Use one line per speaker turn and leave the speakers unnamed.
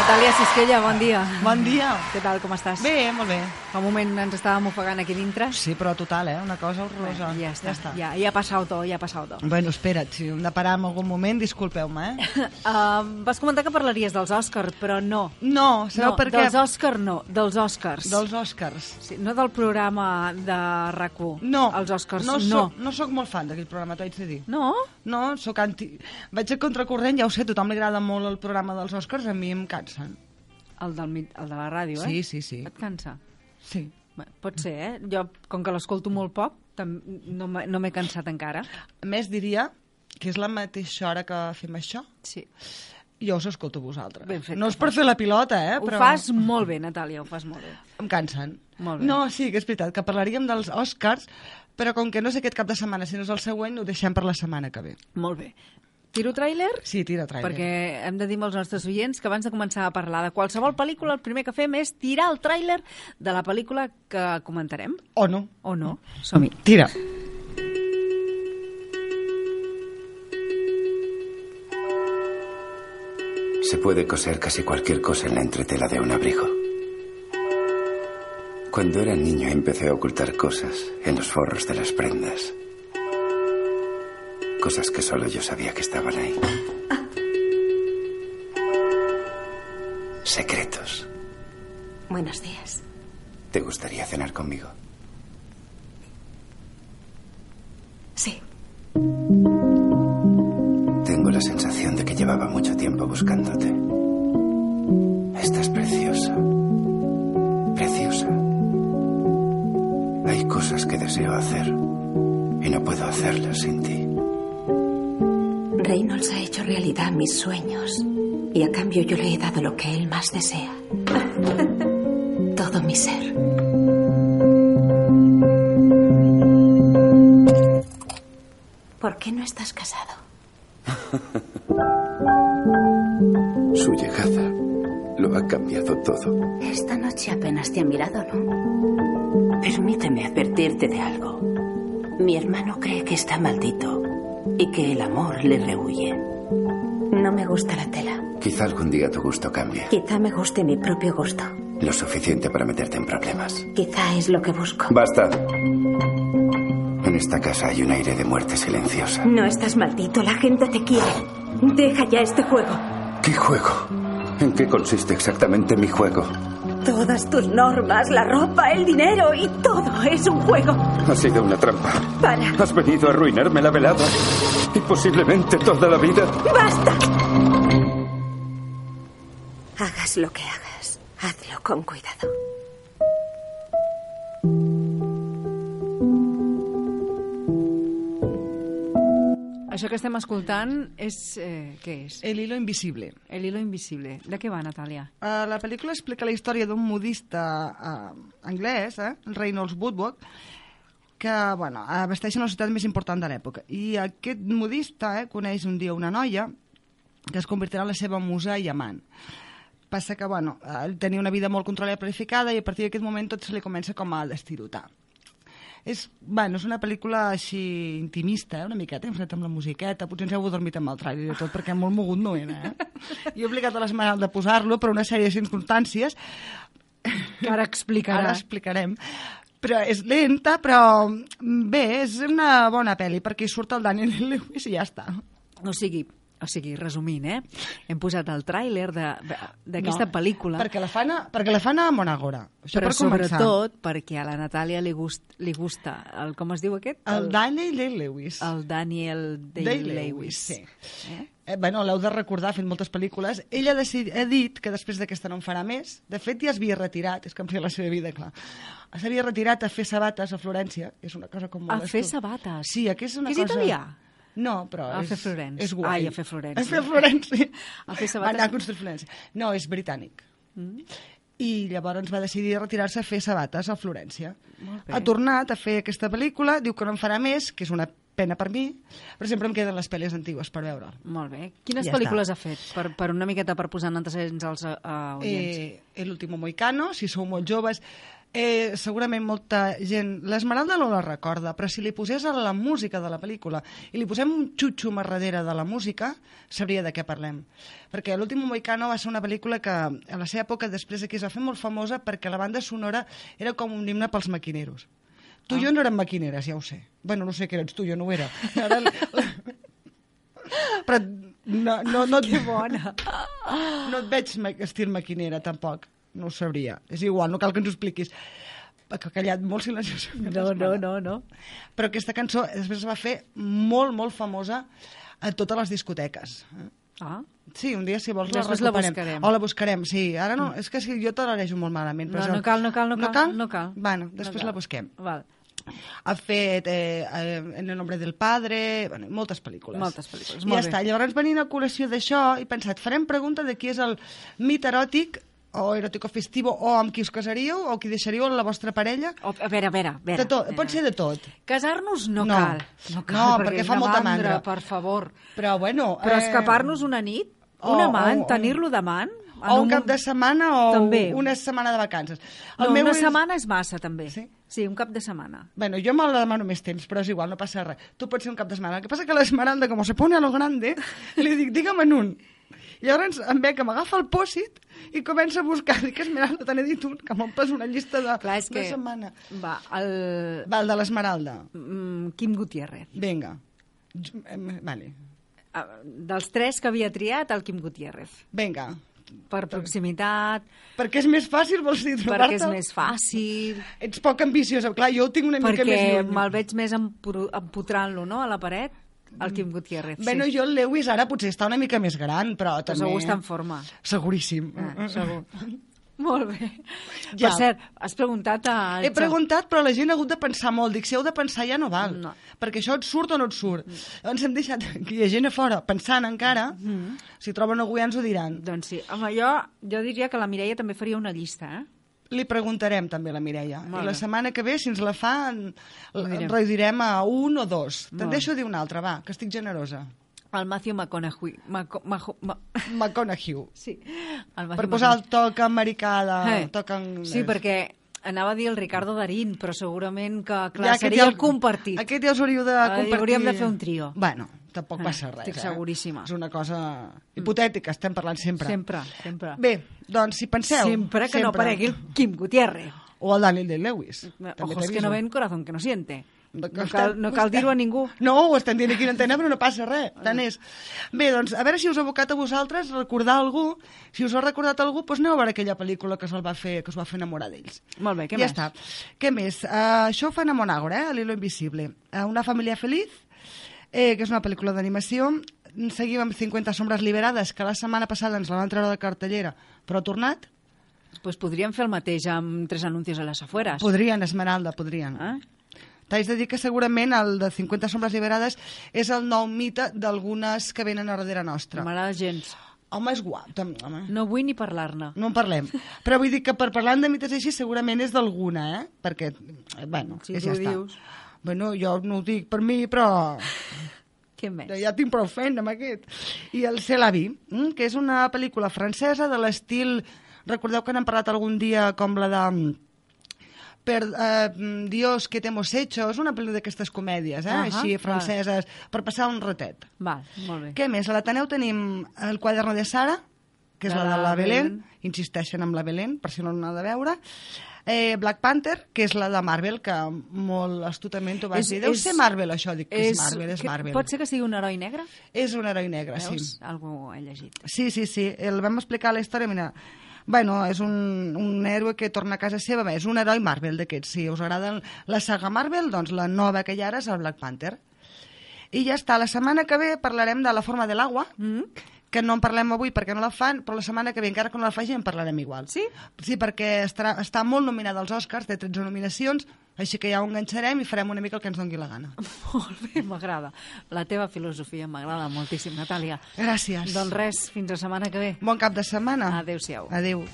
Natàlia Sisquella, Ah. bon dia.
Bon dia.
Què tal, com estàs?
Bé, molt bé.
Fa un moment ens estàvem ofegant aquí dintre.
Sí, però total, eh? Una cosa horrorosa.
ja està, ja, està. ja, ja ha passat tot, ja ha passat tot.
Bueno, espera't, si hem de parar en algun moment, disculpeu-me, eh?
Uh, vas comentar que parlaries dels Òscar, però no.
No, sabeu
no,
per què?
dels Òscar no, dels Òscars.
Dels Oscars.
Sí, no del programa de RAC1.
No,
Els Òscars,
no.
no.
Soc, no sóc molt fan d'aquell programa, t'ho haig de dir.
No?
No, sóc anti... Vaig a contracorrent, ja ho sé, a tothom li agrada molt el programa dels Oscars, a mi em cansen.
El, del, mit- el de la ràdio,
Sí,
eh?
sí, sí.
Et cansa?
Sí.
Bé, Pot ser, eh? Jo, com que l'escolto molt poc, tam- no m'he no m'he cansat encara.
A més, diria que és la mateixa hora que fem això,
Sí.
jo us escolto a vosaltres.
Ben fet,
no
ho
és per fer la pilota, eh?
Ho fas molt bé, Natàlia, ho fas molt bé.
Em cansen.
Molt bé.
No, sí, que és veritat, que parlaríem dels Oscars, però com que no és aquest cap de setmana, sinó és el següent, ho deixem per la setmana que ve.
Molt bé. Tiro tràiler?
Sí, tira, trailer.
Perquè hem de dir als nostres oients que abans de començar a parlar de qualsevol pel·lícula, el primer que fem és tirar el tràiler de la pel·lícula que comentarem.
O no.
O no? Som-hi.
Tira.
Se puede coser casi cualquier cosa en la entretela de un abrigo. Cuando era niño empecé a ocultar cosas en los forros de las prendas. Cosas que solo yo sabía que estaban ahí. Secretos.
Buenos días.
¿Te gustaría cenar conmigo?
Sí.
Tengo la sensación de que llevaba mucho tiempo buscándote. Estás preciosa. Preciosa. Hay cosas que deseo hacer y no puedo hacerlas sin ti.
Reynolds ha hecho realidad mis sueños y a cambio yo le he dado lo que él más desea. Todo mi ser. ¿Por qué no estás casado?
Su llegada lo ha cambiado todo.
Esta noche apenas te ha mirado, ¿no? Permíteme advertirte de algo. Mi hermano cree que está maldito y que el amor le rehuye. No me gusta la tela.
Quizá algún día tu gusto cambie.
Quizá me guste mi propio gusto.
Lo suficiente para meterte en problemas.
Quizá es lo que busco.
Basta. En esta casa hay un aire de muerte silenciosa.
No estás maldito, la gente te quiere. Deja ya este juego.
¿Qué juego? ¿En qué consiste exactamente mi juego?
Todas tus normas, la ropa, el dinero y todo es un juego.
Ha sido una trampa.
Para.
Has venido a arruinarme la velada y posiblemente toda la vida.
¡Basta! Hagas lo que hagas, hazlo con cuidado.
Això que estem escoltant és... Eh, què és?
El hilo invisible.
El hilo invisible. De què va, Natàlia?
Uh, la pel·lícula explica la història d'un modista uh, anglès, eh? Reynolds Woodward, que bueno, abasteix una ciutat més important de l'època. I aquest modista eh, coneix un dia una noia que es convertirà en la seva musa i amant. Passa que, bueno, eh, tenia una vida molt controlada i planificada i a partir d'aquest moment tot se li comença com a destirotar. És, bueno, és una pel·lícula així intimista, eh, una miqueta, hem fet amb la musiqueta, potser ens heu adormit amb el tràiler i tot, perquè molt mogut no era, eh? Jo he obligat a l'esmeralda a posar-lo per una sèrie de circumstàncies,
Que ara explicarà.
ara explicarem. Però és lenta, però mm, bé, és una bona pel·li, perquè hi surt el Daniel Lewis i ja està.
O sigui, o sigui, resumint, eh? Hem posat el tràiler de- d'aquesta
No,
pel·lícula.
Perquè la fan a, perquè la fan a Monagora. Això
però
per començar.
sobretot perquè a la Natàlia li, gust, li gusta el, com es diu aquest?
El Daniel Lewis.
el Daniel Day-Lewis.
Sí.
Eh?
Eh, bueno, l'heu de recordar, ha fet moltes pel·lícules. Ell ha, decid... ha dit que després d'aquesta no en farà més. De fet, ja s'havia retirat, és que em sé la seva vida, clar. S'havia retirat a fer sabates a Florència, és una cosa com
A
molt...
fer
estu-
sabates.
Sí, que és una
Que és
cosa...
italià?
No, però
A
és,
fer florents.
és guai.
Ai, a fer florents.
A fer Florenci.
A fer
Va
sabates. Mm.
anar a construir Florenci. No, és britànic. I llavors va decidir retirar-se a fer sabates a Florència.
Molt bé.
Ha tornat a fer aquesta pel·lícula, diu que no en farà més, que és una pena per mi, però sempre em queden les pel·lis antigues per veure'l.
Molt bé. Quines
Ja
ja pel·lícules
està.
ha fet? Per, per eh, una miqueta per posar en antecedents als uh, audients.
Eh, El último moicano, si sou molt joves, eh, segurament molta gent l'esmeralda no la recorda, però si li posés a la música de la pel·lícula i li posem un xutxum a darrere de la música, sabria de què parlem. Perquè l'último Moicano va ser una pel·lícula que a la seva època després aquí es va fer molt famosa perquè la banda sonora era com un himne pels maquineros. Tu i jo no érem maquineres, ja ho sé. Bueno, no sé que eres tu, jo no ho era. Ara, però no, no, no, et,
Bona.
no et veig ma- estil maquinera, tampoc. No ho sabria. És igual, no cal que ens ho expliquis. Que ha callat molt silenciosament.
No, no, no, no.
Però aquesta cançó després es va fer molt, molt famosa a totes les discoteques.
Ah,
Sí, un dia, si vols, la
Després la
recuperem.
buscarem.
O la buscarem, sí. Ara no, és que sí, jo te l'arejo molt malament.
no,
Però és el-
no cal, no cal, no cal.
No cal?
No cal.
Bueno, després
cal.
la busquem.
Val.
Ha fet eh, eh, En el nombre del padre, bueno, moltes pel·lícules.
Moltes pel·lícules,
I
molt
ja
bé.
està. Llavors, venint a col·lació d'això, he pensat, farem pregunta de qui és el mit eròtic o eròtic o festivo, o amb qui us casaríeu, o qui deixaríeu a la vostra parella.
O, a veure, a veure, a veure.
De tot,
a
pot ser
veure.
de tot.
Casar-nos no,
No.
cal. No cal,
No,
perquè,
perquè
és
fa
una
molta
mandra,
mandra.
per favor.
Però, bueno... eh,
Però escapar-nos una nit,
o-
un amant,
o- o-
tenir-lo d'amant... en
O un cap de setmana o
També.
una setmana de vacances. El
No, una
és-
setmana és massa, també.
Sí?
sí, un cap de setmana.
Bueno, yo me la demano més temps, però és igual, no passa res. Tu pots ser un cap de setmana. El que passa que l'esmeralda, com se pone a lo grande, li dic, digue'm en un. I llavors em ve que m'agafa el pòsit i comença a buscar. Dic, esmeralda, te n'he dit un, que m'omples una llista de
Clar, és que...
una setmana.
Va, el...
Val, de l'esmeralda.
Mm, Quim Gutiérrez.
Vinga. Jo- em- Vale.
Ah, Dels tres que havia triat, el Quim Gutiérrez.
Vinga.
Per proximitat,
Perquè és més fàcil, vols dir,
perquè és
trobar-te?
més fàcil,
Ets poc ambiciosa. Clar, jo ho tinc una mica
perquè
més lluny.
me'l veig més empuru- empotrant-lo, no?, a la paret, el Quim Gutiérrez.
Bueno,
sí.
jo el Lewis ara potser està una mica més gran, però
Però
també...
segur està en forma.
Seguríssim.
Ah, segur. Molt bé. Ja.
Mm, Ja.
Per cert, has preguntat a...
He preguntat, però la gent ha hagut de pensar molt. Dic, si heu de pensar ja no val,
No. Mm.
perquè això et surt o no et surt. Llavors hem deixat que hi ha gent a fora pensant encara.
Mm.
Si troben algú ja ens ho diran.
Doncs sí, home, jo, jo diria que la Mireia també faria una llista, eh?
Li preguntarem també a la Mireia.
Molt
I la
bé.
setmana que ve, si ens la fa, en-
direm.
la redirem a un o dos.
Molt
Te'n
bé.
deixo dir una altra, va, que estic generosa.
El Matthew McConaughey. Maco, majo, ma...
McConaughey.
Sí. El Matthew
Per posar el
McConaughey.
toc americà, de,
Eh.
toc anglès.
Sí, perquè anava a dir el Ricardo Darín, però segurament que, clar,
Ja,
ja,
aquest
seria
ja-
el compartit.
Aquest ja us hauríeu de
Ah,
compartir.
hauríem de fer un trio.
Bueno, tampoc
Ah,
passa res.
estic
eh?
seguríssima. Mm.
És una cosa hipotètica, estem parlant sempre.
Sempre, sempre.
Bé, doncs si penseu...
sempre que no aparegui el Kim Gutiérrez.
O el Daniel de Lewis. també
Ojos que
t'aviso.
no ven, corazón que no siente.
No
No
està-
cal, no cal
està-
dir-ho a ningú.
No, ho estem dient aquí en antena, però no passa res. Tant és. Bé, doncs, a veure si us ha abocat a vosaltres recordar algú. Si us ho ha recordat algú, doncs aneu a veure aquella pel·lícula que us, el va fer, que us va fer enamorar d'ells.
Molt bé, què
ja
més?
està. Què més? Uh, això ho fan a Monàgora, eh? a l'Hilo Invisible. Uh, una família feliç, eh, que és una pel·lícula d'animació. Seguim amb 50 sombres liberades, que la setmana passada ens la van treure de cartellera, però ha tornat.
Pues podríem fer el mateix amb tres anuncis a les afueres.
Podrien, Esmeralda, podrien.
Eh?
T'haig de dir que segurament el de 50 sombres liberades és el nou mite d'algunes que venen a darrere nostra.
M'agrada gens.
Home, és guap, tam- home.
No vull ni parlar-ne.
No en parlem. Però vull dir que per parlar de mites així segurament és d'alguna, eh? Perquè, eh, bueno,
Si
és
tu
ja
ho
està.
dius.
Bueno, jo no ho dic per mi, però
Què més?
ja tinc prou feina amb aquest. I el C'est la vie, mm, que és una pel·lícula francesa de l'estil... Recordeu que n'hem parlat algun dia com la de... mm, Per eh, mm, Dios, que t'hemos hecho? És una pel·lícula d'aquestes comèdies, eh?
Ahà,
així,
clar.
franceses, per passar un ratet.
Val, molt bé.
Què més? A l'Ateneu tenim el quaderno de Sara, que és
De
la, de
la
la Belén.
Belén.
Insisteixen amb la Belén, per si no l'han de veure. Eh, Black Panther, que és la de Marvel, que molt astutament ho vas dir. Deu ser Marvel, això. Dic que és, Marvel, és
que-
Marvel.
Pot ser que sigui un heroi negre?
És un heroi negre,
Veus?
sí.
Algú he llegit.
Sí, sí, sí. El vam explicar a la història, mira... Bueno, és un, un héroe que torna a casa seva, bé, és un heroi Marvel d'aquests. Si us agrada la saga Marvel, doncs la nova que hi ha ara és el Black Panther. I ja està, la setmana que ve parlarem de la forma de l'aigua,
Mm.
que no en parlem avui perquè no la fan, però la setmana que ve, encara que no la facin, en parlarem igual.
Sí?
Sí, perquè estarà, està molt nominada als Oscars, té 13 nominacions, així que ja ho enganxarem i farem una mica el que ens doni la gana.
Molt bé, m'agrada. La teva filosofia m'agrada moltíssim, Natàlia.
Gràcies. Ah.
Doncs res, fins la setmana que ve.
Bon cap de setmana.
Adéu-siau.
Adéu.